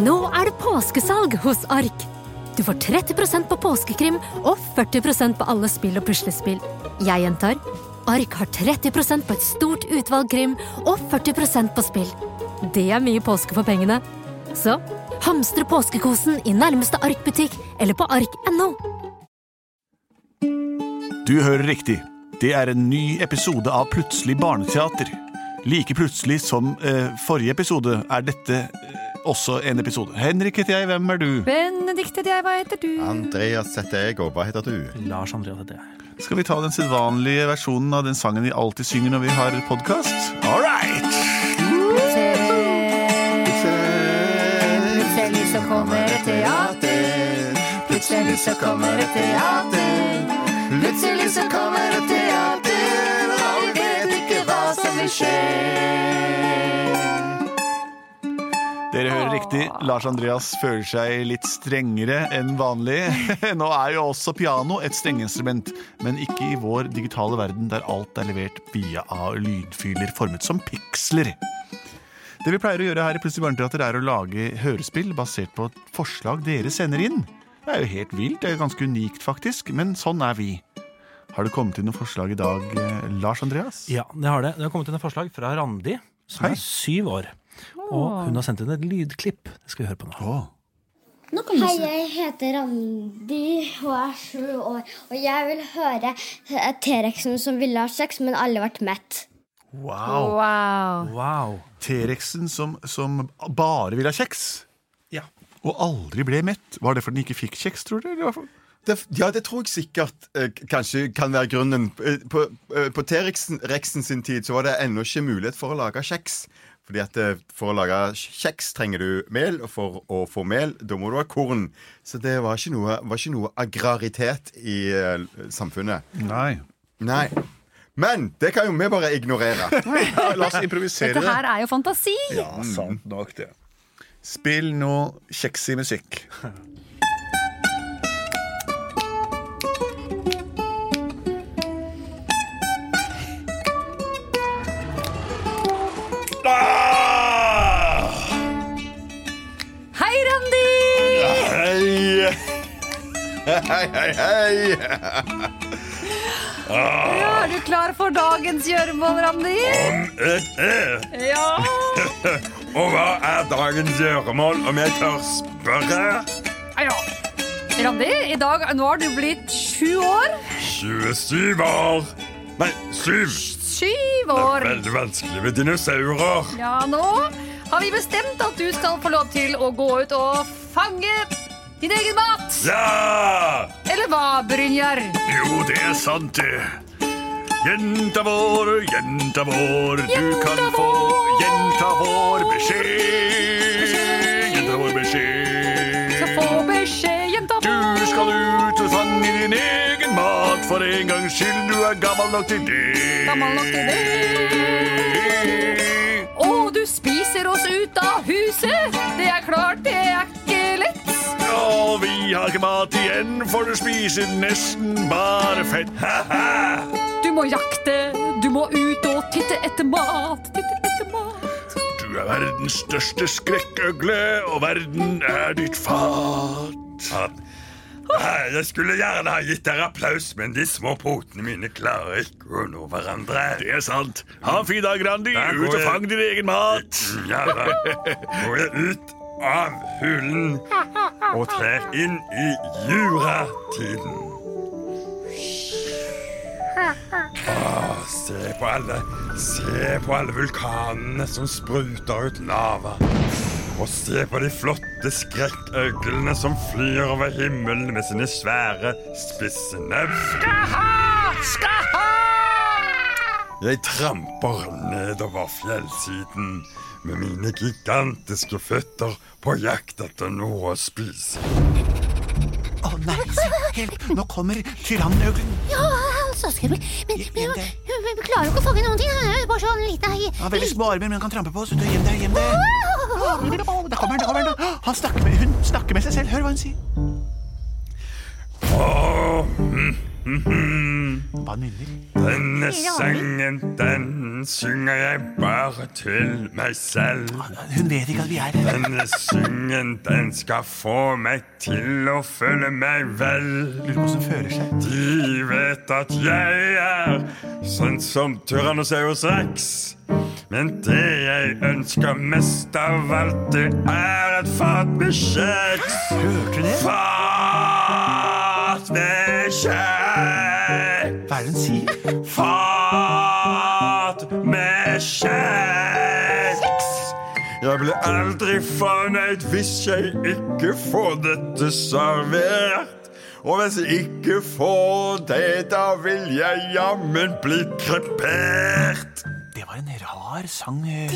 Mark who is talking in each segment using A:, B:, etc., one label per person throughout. A: Nå er det påskesalg hos Ark. Du får 30 på påskekrim og 40 på alle spill og puslespill. Jeg gjentar Ark har 30 på et stort utvalg krim og 40 på spill. Det er mye påske for pengene. Så hamstre påskekosen i nærmeste Ark-butikk eller på ark.no.
B: Du hører riktig. Det er en ny episode av Plutselig barneteater. Like plutselig som eh, forrige episode er dette eh, også en episode. Henrik heter jeg, hvem er du?
C: Benedikte, jeg, hva heter du?
D: Andreas heter jeg, og hva heter du?
E: Lars Andreas heter jeg.
B: Skal vi ta den sedvanlige versjonen av den sangen vi alltid synger når vi har podkast? All right!
C: Plutselig så kommer et
D: teater.
C: Plutselig så kommer et teater. Plutselig så kommer et teater, og vi vet ikke hva som vil skje.
B: Dere hører riktig. Lars Andreas føler seg litt strengere enn vanlig. Nå er jo også piano et strengeinstrument, men ikke i vår digitale verden der alt er levert via av lydfiler formet som piksler. Det vi pleier å gjøre her i Plutselig barneteater, er å lage hørespill basert på et forslag dere sender inn. Det er jo helt vilt. Det er ganske unikt, faktisk, men sånn er vi. Har det kommet inn noen forslag i dag, eh, Lars Andreas?
E: Ja, det har det. Det har kommet inn et forslag fra Randi, som
B: Hei.
E: er syv år. Og hun har sendt inn et lydklipp. Det skal vi høre på nå.
B: Åh.
F: Hei, jeg heter Randi og er sju år. Og jeg vil høre eh, T-rexen som ville ha sex, men alle ble mett.
B: Wow!
C: Wow.
E: Wow.
B: T-rexen som, som bare vil ha kjeks.
E: Ja.
B: Og aldri ble mett. Var det fordi den ikke fikk kjeks, tror du? eller hva for-
D: Det, ja, det tror jeg sikkert eh, k- kanskje kan være grunnen. Eh, På, eh, på T-Rexen Rexen sin tid så var det ennå ikke mulighet for å lage kjeks. Fordi at eh, For å lage kjeks trenger du mel, og for å få mel da må du ha korn. Så det var ikke noe, var ikke noe agraritet i eh, samfunnet.
B: Nei.
D: Nei. Men det kan jo vi bare ignorere.
B: La oss improvisere
C: Dette her er jo fantasi.
B: Ja, sant nok det. Spill noe kjeksig musikk.
C: Hei, Randi!
D: Hei! Hei, hei, hei!
C: Ja, er du klar for dagens gjøremål, Randi? Ja.
G: Og hva er dagens gjøremål, om jeg tør spørre?
C: ja. Randi, i dag, nå har du blitt sju år.
G: 27 år. Nei, syv.
C: Syv år.
G: Veldig vanskelig med dinosaurer.
C: Ja, nå har vi bestemt at du skal få lov til å gå ut og fange din egen mat.
G: Ja!
C: Eller hva, Brynjar?
G: Jo, det er sant, det. Jenta vår, jenta vår, du kan få jenta vår beskjed. Jenta vår beskjed.
C: Få beskjed, jenta.
G: Du skal ut og fange din egen mat For en gangs skyld du er gammel nok til det
C: Gammel nok til
G: det
C: Og du spiser oss ut av huset. Det er klart, det er ikke lett.
G: Og vi har ikke mat igjen For du spiser nesten bare fett Ha-ha!
C: Du må jakte, du må ut og titte etter mat. Titte etter mat.
G: Du er verdens største skrekkøgle Og verden er ditt fat Jeg skulle gjerne ha gitt dere applaus Men de små potene mine klarer ikke å nå hverandre
B: Det er sant. Ha en fin dag, Grandi.
G: Der går
B: Ut og
G: jeg.
B: fang din egen mat.
G: Ja, da går jeg ut av hulen og trer inn i juratiden. Åh, Ah, se på alle Se på alle vulkanene som spruter ut lava. Og se på de flotte skrekkøglene som flyr over himmelen med sine svære, spisse nebb. Jeg tramper nedover fjellsiden med mine gigantiske føtter på jakt etter noe å spise.
B: Å nei, se. Hjelp. Nå kommer tyrannøglen.
H: Ja, søskenen min. Men, men hun, hun, hun klarer jo ikke å fange noen ting. Hun er jo bare sånn lita hi.
B: Han har veldig små armer, men han kan trampe på oss. Ut og Gjem deg, gjem deg. Å, Der kommer han, der kommer han. Å, han snakker med, hun snakker med seg selv. Hør hva hun sier.
G: Åh, mm,
B: hm, Vaniljer.
G: Denne sangen, den synger jeg bare til meg selv.
B: Hun vet ikke at vi er her.
G: Denne sangen, den skal få meg til å føle meg vel.
B: Lurer på hvordan hun fører seg.
G: De vet at jeg er sånn som Tyrannosaurus rex. Men det jeg ønsker mest av alt, det er et fat med kjeks.
B: Hørte du det?
G: Fat med kjeks!
B: Hva er det hun sier?
G: Fat med kjeks! Jeg blir aldri fornøyd hvis jeg ikke får dette servert. Og hvis jeg ikke får det, da vil jeg jammen bli krepert.
B: Det var en rar sang eh,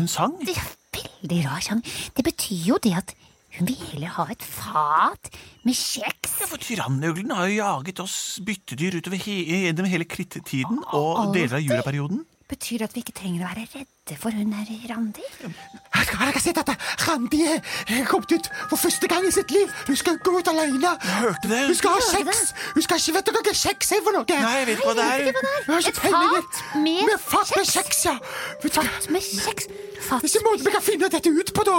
B: hun sang.
H: Det er veldig rar sang. Det betyr jo det at hun vil heller ha et fat med kjeks.
B: For tyrannøglen har jo jaget oss byttedyr utover he gjennom hele krittiden og deler av juraperioden.
H: Betyr det at vi ikke trenger å være redde for hun her, Randi?
I: Jeg har ikke sett dette. Randi er kommet ut for første gang i sitt liv. Hun skal gå ut alene.
B: Hørte det?
I: Hun skal ha sex. Hun skal ikke vite hva kjeks er for noe.
B: Nei, jeg vet ikke hva det er.
I: Jeg har ikke
H: Et
I: peiling.
H: fat med
I: fat med
H: kjeks.
I: kjeks, ja. Vet du hva?
H: Fat med kjeks. Fat
I: Hvis det er måten vi kan finne dette ut på, da.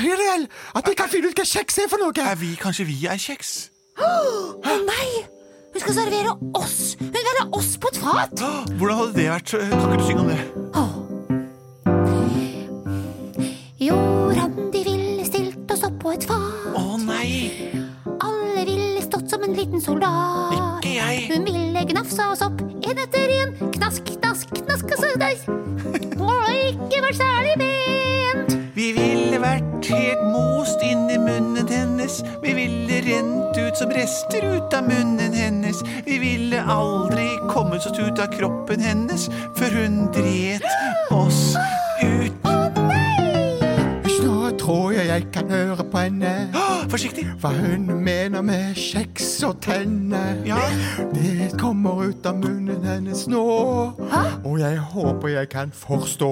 I: Ariel, at vi kan finne ut hva kjeks er for noe.
B: Er vi, kanskje vi er kjeks?
H: Å nei! Hun skal servere oss! Hun vil ha oss på et fat!
B: Åh, Hvordan hadde det vært? eh, Kan ikke du synge om det?
H: Jo, Randi ville stilt oss opp på et fat.
B: Å nei!
H: Alle ville stått som en liten soldat.
B: Ikke jeg.
H: Hun ville gnafsa oss opp en etter en. Knask, knask, knask. Og så deis. Og ikke vært særlig pent.
B: Vi ville vært helt most inni munnen hennes. Vi ville rent ut som rester ut av munnen hennes. Vi ville aldri kommet oss ut av kroppen hennes før hun dret oss ut.
I: Husk nå tror jeg jeg kan høre på henne
B: Åh, Forsiktig!
I: hva hun mener med kjeks og tenner.
B: Ja.
I: Det kommer ut av munnen hennes nå, og jeg håper jeg kan forstå.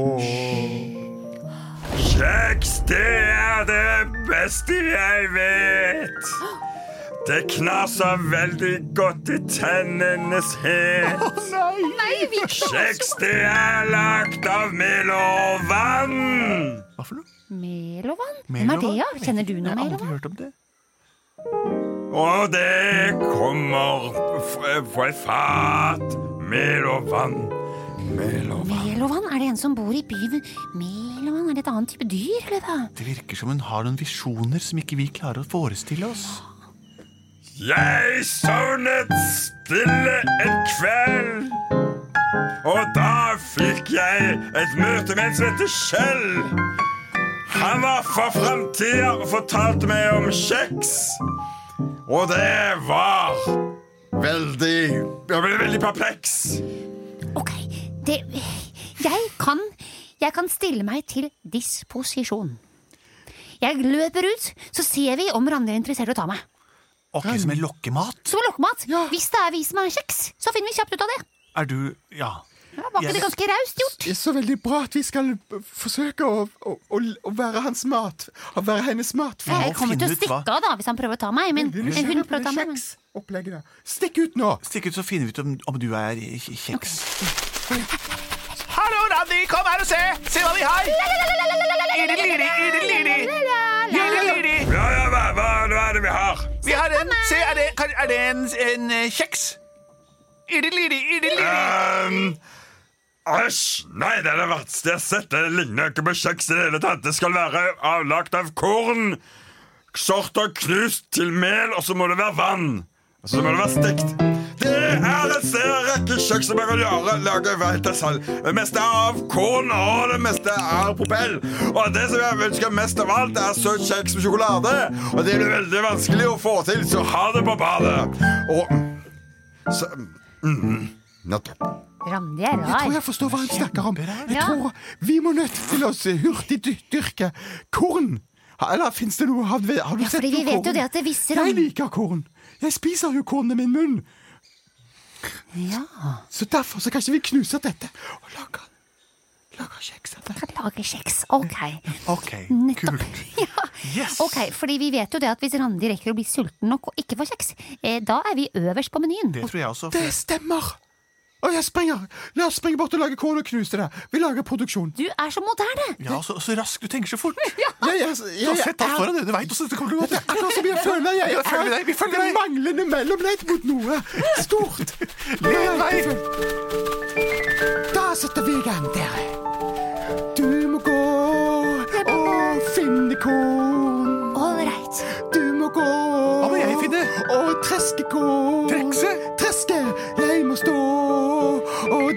G: Kjeks, det er det beste jeg vet. Det knaser veldig godt i tennenes het.
H: Nei, vi
G: Kjeks, det er lagt av mel og vann.
B: Hva for noe?
H: Melovann? Hvem er det, ja? Kjenner du noe
B: Jeg har aldri
H: Melovann?
B: hørt om det.
G: Og det kommer f- på et fat mel og vann. Mel og vann.
H: Melovann, er det en som bor i byen? Melovann, er det et annet type dyr, eller hva?
B: Det virker som hun har noen visjoner som ikke vi klarer å forestille oss.
G: Jeg sovnet stille en kveld. Og da fikk jeg et møte med en som heter Kjell. Han var fra framtida og fortalte meg om kjeks. Og det var veldig Jeg ble veldig perpleks.
H: Ok, det Jeg kan Jeg kan stille meg til disposisjon. Jeg løper ut, så ser vi om Randi er interessert i å ta meg.
B: Ok, Som en lokkemat?
H: Som lokkemat. Hvis det er vi som er kjeks, så finner vi kjapt ut av det.
B: Er du Ja.
H: Ja, var ikke
B: Jeg-
H: det ganske raust gjort?
I: Det er så veldig bra at vi skal eh, forsøke å, å, å, å være hans mat. Å være hennes mat.
B: må
H: Jeg kommer til
B: finne
H: å
B: ut hva-
H: stikke av da hvis han prøver å ta meg. Men
I: Vil du
H: eh,
I: se
H: hun
I: på
H: prøver å ta meg. men-
I: kjeksopplegget der? Stikk ut nå!
B: Stikk ut, så finner vi ut om, om du er kj- kjeks.
C: Hallo, Randi, kom her og se! Se hva vi har! Ydeliri, ydeliri. Ydeliri.
G: Ja, ja, hva, hva, hva er det vi har?
C: Vi har en Se, er det, kan- er det en, en eh, kjeks? Ydeliri, ydeliri.
G: Ehm, Æsj! Nei, det er det verste jeg har sett. Det ligner ikke på kjeks i det hele tatt. Det skal være avlagt av korn, sorter knust til mel, og så må det være vann. Og så må det være stekt. Det er en større rekke kjeks som jeg kan gjøre, lage hvert jeg selv. Det meste er av korn, og det meste er propell. Og det som jeg ønsker mest av alt, er søt kjeks med sjokolade. Og det blir veldig vanskelig å få til, så ha det på badet. Og så, mm, Nettopp.
H: Randi er
I: Jeg tror
H: rar.
I: jeg forstår hva han snakker om. Jeg
H: Ja.
I: tror Vi må nødt til å hurtigdyrke korn. Eller fins det noe Har du har du
H: Ja,
I: sett
H: fordi
I: noe
H: vi vet jo
I: korn?
H: det at det visse
I: Jeg
H: ram-
I: liker korn. Jeg spiser jo korn i min munn.
H: Ja,
I: Så derfor så kan ikke vi knuse dette og lage, lage kjeks av det.
H: kan lage kjeks. Ok.
B: Ok,
H: Nettopp.
B: kult.
H: Ja.
B: Yes!
H: Ok, fordi vi vet jo det at Hvis Randi rekker å bli sulten nok og ikke får kjeks, eh, da er vi øverst på menyen.
B: Det tror jeg også.
I: Det stemmer! Og jeg springer! La oss springe bort og lage kål og knuse det. Vi lager produksjon.
H: Du er så moderne!
B: Ja, så, så raskt. Du tenker så fort.
I: Jeg, jeg,
B: Du har
I: jeg
B: sett alt
I: er-
B: foran deg. Du veit åssen dette kommer til å
I: Det
B: gå.
I: er akkurat som jeg føler jeg,
B: Ja,
I: jeg
B: følger deg, vi følger deg.
I: det manglende mellomledd mot noe stort.
B: Led vei.
I: Da setter vi i gang, dere. Du må gå og finne korn.
H: Ålreit.
I: Du må gå Hva
B: må jeg finne?
I: Og treske korn.
B: Trekse?
I: Treske. Jeg må stå og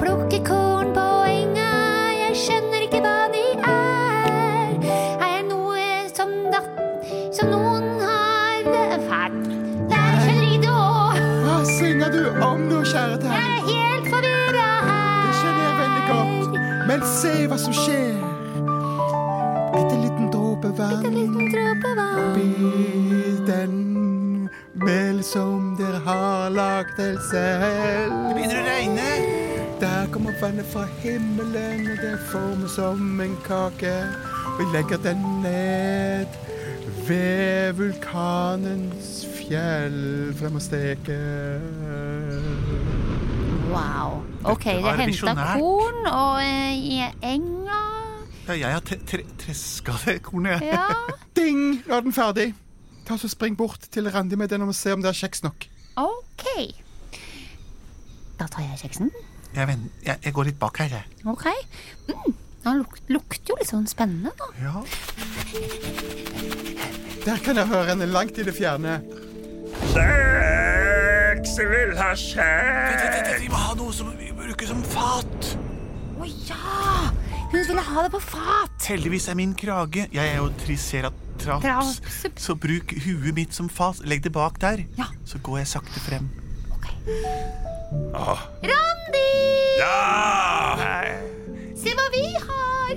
H: plukker korn på enga, jeg skjønner ikke hva de er. Er jeg noe som da, som noen har Faen. Nei, jeg skjønner ikke det òg.
I: hva synger du om nå, kjære deg?
H: Jeg er helt forvirra
I: Det skjønner jeg veldig godt.
H: her.
I: Men se hva som skjer. Bitte liten dråpe
H: En
I: vann
H: liten dråpe vann.
I: oppi den mel som dere har lagd helt selv.
B: Begynner å regne.
I: Der kommer vannet fra himmelen, og det former som en kake. Og jeg legger den ned ved vulkanens fjell frem og steker.
H: Wow. Ok, det
B: var
H: henta
B: visjonært.
H: korn og eh, i enga.
B: Ja, jeg har tre tre treska det kornet. jeg.
H: Ja.
I: Ding! Nå er den ferdig. Ta så Spring bort til Randi med den og se om det er kjeks nok.
H: Ok. Da tar jeg kjeksen.
B: Jeg, ven- jeg, jeg går litt bak her, jeg.
H: Ok. Mm. Den luk lukter jo litt sånn spennende, da.
B: Ja.
I: Der kan jeg høre henne langt i det fjerne.
G: Kjeks vil ha kjeks!
B: Vi må ha noe som vi bruker som fat.
H: Å ja! Hun ville ha det på fat.
B: Heldigvis er min krage Jeg er jo triceratops,
H: Traps.
B: så bruk huet mitt som fat. Legg det bak der,
H: Ja.
B: så går jeg sakte frem.
H: Ok. Randi!
G: Ja!
H: Se hva vi har!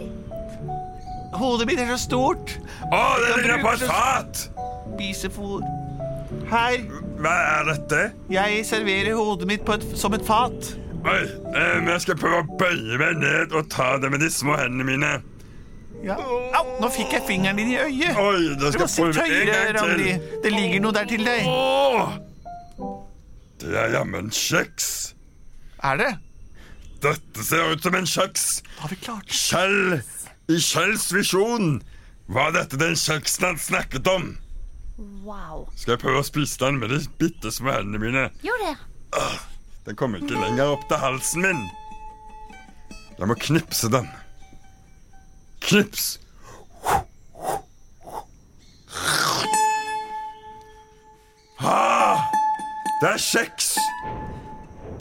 B: Hodet mitt er så stort.
G: Å, det ligner på et fat!
B: Bisefôr. Her.
G: Hva er dette?
B: Jeg serverer hodet mitt på et, som et fat.
G: Oi, eh, men jeg skal prøve å bøye meg ned og ta det med de små hendene mine.
B: Ja. Au, nå fikk jeg fingeren din i øyet.
G: Oi, det
B: du
G: skal
B: må
G: jeg
B: sitte
G: prøve
B: høyere,
G: en gang
B: Randi.
G: til.
B: Det ligger noe der til deg.
G: Åh! Det er jammen kjeks.
B: Er det?
G: Dette ser ut som en kjeks.
B: Har vi klart det?
G: Kjell i Kjells visjon var dette den kjeksen han snakket om.
H: Wow.
G: Skal jeg prøve å spise den med de bitte små hendene mine?
H: Gjør det.
G: Den kommer ikke lenger opp til halsen min. Jeg må knipse den. Knips! Ah, det er kjeks!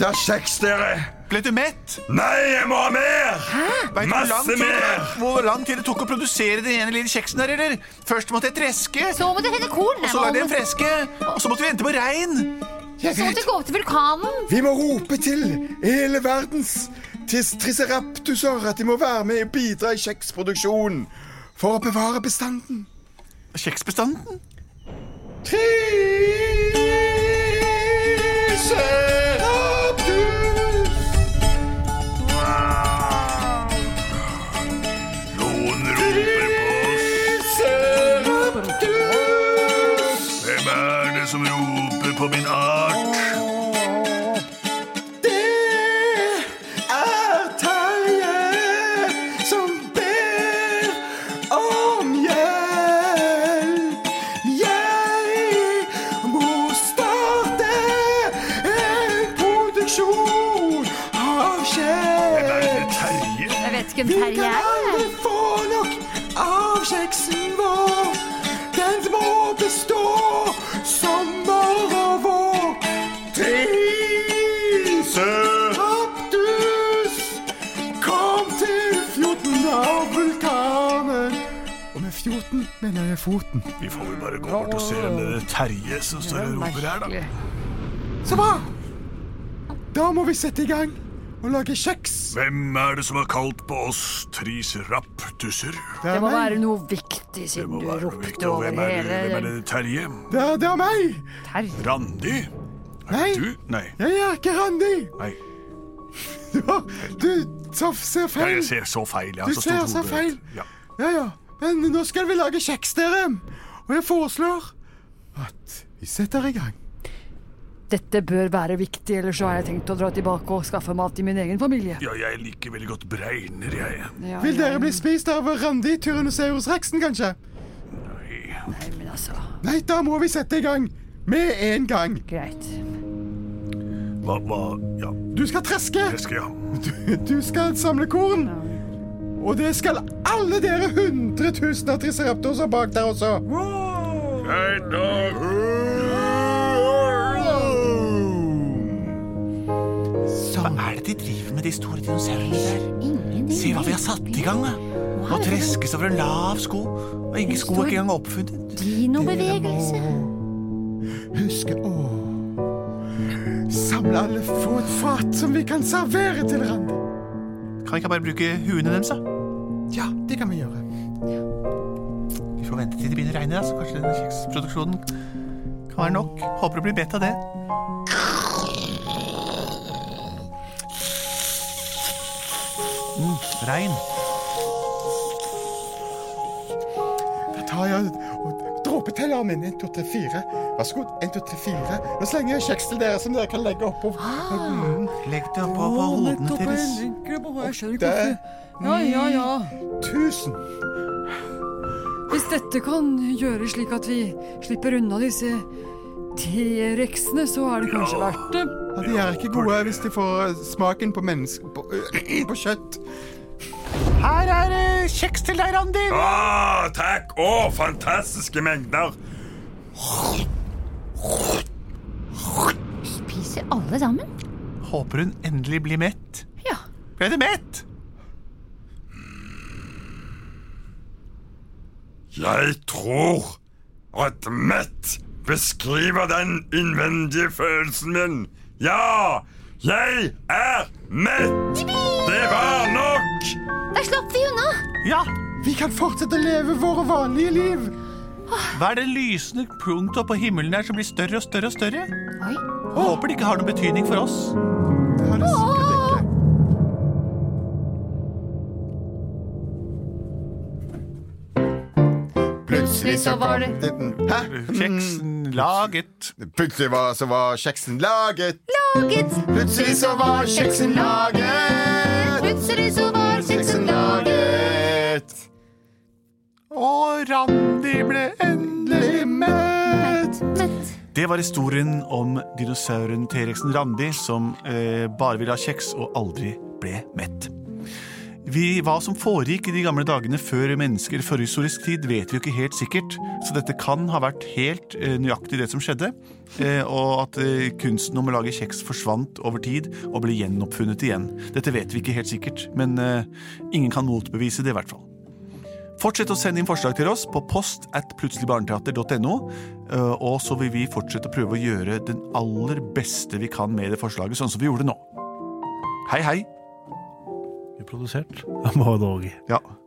G: Det er kjeks, dere!
B: Ble du mett?
G: Nei, jeg må ha mer!
B: Vet du hvor lang
G: Masse
B: tid-
G: mer!
B: Hvor lang tid det tok å produsere den ene lille kjeksen der, eller? Først måtte jeg treske,
H: Så må du hente korn.
B: og så lagde jeg en freske, og så måtte vi vente på regn.
I: Jeg
H: Så må du
I: vet!
H: gå opp til vulkanen.
I: Vi må rope til hele verdens tis- triceraptuser at de må være med og bidra i kjeksproduksjonen for å bevare bestanden.
B: Kjeksbestanden?
I: Triceraptus!
G: Noen roper på oss.
I: Triceraptus!
G: Hvem er det som roper på min art?
I: Det er Terje som ber om hjelp. Jeg må starte en produksjon av
G: Er
I: kjeks.
G: det
H: Jeg
G: Terje?
H: vet ikke hvem
I: Vi
H: Terje
I: kan
H: er.
I: aldri få nok av kjeksen vår. Den må bestå sommer og vår. Triceraptus kom til fjorten av vulkanen. Og med fjorten mener jeg foten.
G: Vi får vel bare gå bort og se om det er Terje som står og roper her, da.
I: Så bra! Da må vi sette i gang
D: og lage kjeks.
I: Hvem er det som har kalt på oss trisraptusser?
D: Det
C: Det
D: er
C: må
D: meg.
C: være noe viktig, siden du ropte
I: Og
C: over
I: hvem er det? Hvem er
C: hele
I: det? Terje?
D: Det er, det er meg.
I: Randi?
D: Nei,
I: Du? Nei.
D: jeg er ikke Randi.
I: Nei.
D: Du, har- du så- ser
I: Ja,
D: feil.
I: jeg ser så feil. Jeg har
D: Du
I: så
D: ser
I: stort
B: altså
D: så
I: hode.
D: feil.
I: Ja.
D: Ja, ja. Men nå skal vi lage kjeks, dere. Og jeg foreslår at vi setter i gang.
C: Dette bør være viktig, ellers så har jeg tenkt å dra tilbake og skaffe mat til min egen familie.
I: ja, jeg liker veldig godt bregner, jeg.
C: Ja,
D: Vil
C: ja.
D: dere bli spist av Randi Tyrannosaurus rexen, kanskje?
C: Nei, men altså,
D: Nei, da må vi sette i gang. Med en gang.
C: greit.
I: Hva, hva Ja,
D: Du skal treske.
I: det skal jeg ha.
D: Du skal samle korn. Og det skal alle dere hundre tusen av triceratoser bak der også.
I: Greit nok.
B: Sånn.
J: Hva er det de driver med, de store dinosaurene der? Se hva vi har satt i gang, da. Nå treskes over en lav sko, og ingen sko er ikke engang oppfunnet.
H: Dinobevegelse.
D: Husk å samle alle, få et fat som vi kan servere til Randi.
B: Kan vi ikke bare bruke huene deres, da?
D: Ja, det kan vi gjøre.
B: Vi får vente til det begynner å regne, da, så kanskje denne kjeksproduksjonen kan være nok. Håper det blir bedt av det. Mm, regn.
D: Da tar jeg og- dråpetelleren min. 1, 2, 3, 4. Vær så god. 1, 2, 3, 4. Nå slenger jeg kjeks til dere som dere kan legge oppå. Mm.
B: Legg det oppå på hodene
C: Nettopp, jeg
B: deres.
C: ligger på- jeg skjønner ikke
D: Det
C: hvorfor. Ja, ja, ja.
D: tusen.
C: Hvis dette kan gjøres slik at vi slipper unna disse T-rexene, så er det kanskje verdt det.
D: Ja, de er ikke gode hvis de får eh, smaken på menneske... På, på kjøtt.
B: Her er det kjeks til deg, Randi.
G: Å, Ah, takk! Å, fantastiske mengder!
H: Spiser alle sammen?
B: Håper hun endelig blir mett.
H: Ja.
B: Ble du mett?
G: Jeg tror at mett beskriver den innvendige følelsen min. Ja, jeg er mett! Det var nok!
H: Da slapp vi unna.
B: Ja.
D: Vi kan fortsette å leve våre vanlige liv.
B: Hva er det lysende punktet på himmelen her som blir større og større og større?
H: Oi.
B: Håper det ikke har noen betydning for oss.
D: Det har det sikkert ikke.
K: Plutselig
C: så var det-
K: Hæ?
B: Mm.
K: Mm.
B: Kjeksen laget.
K: Plutselig var, så var kjeksen laget.
H: Laget.
K: Plutselig så var kjeksen laget.
H: Plutselig så var
K: Kjeksen laget.
B: Og Randi ble endelig mett.
H: Mett.
B: Det var historien om dinosauren T-rexen Randi som eh, bare ville ha kjeks og aldri ble mett. Vi, hva som foregikk i de gamle dagene før mennesker forhistorisk tid, vet vi jo ikke helt sikkert, så dette kan ha vært helt eh, nøyaktig det som skjedde, eh, og at eh, kunsten om å lage kjeks forsvant over tid og ble gjenoppfunnet igjen. Dette vet vi ikke helt sikkert, men eh, ingen kan motbevise det i hvert fall. Fortsett å sende inn forslag til oss på post at plutseligbarneteater.no, eh, og så vil vi fortsette å prøve å gjøre den aller beste vi kan med det forslaget, sånn som vi gjorde nå. Hei, hei.
E: Vi er Produsert av Maud Åge.
B: Ja.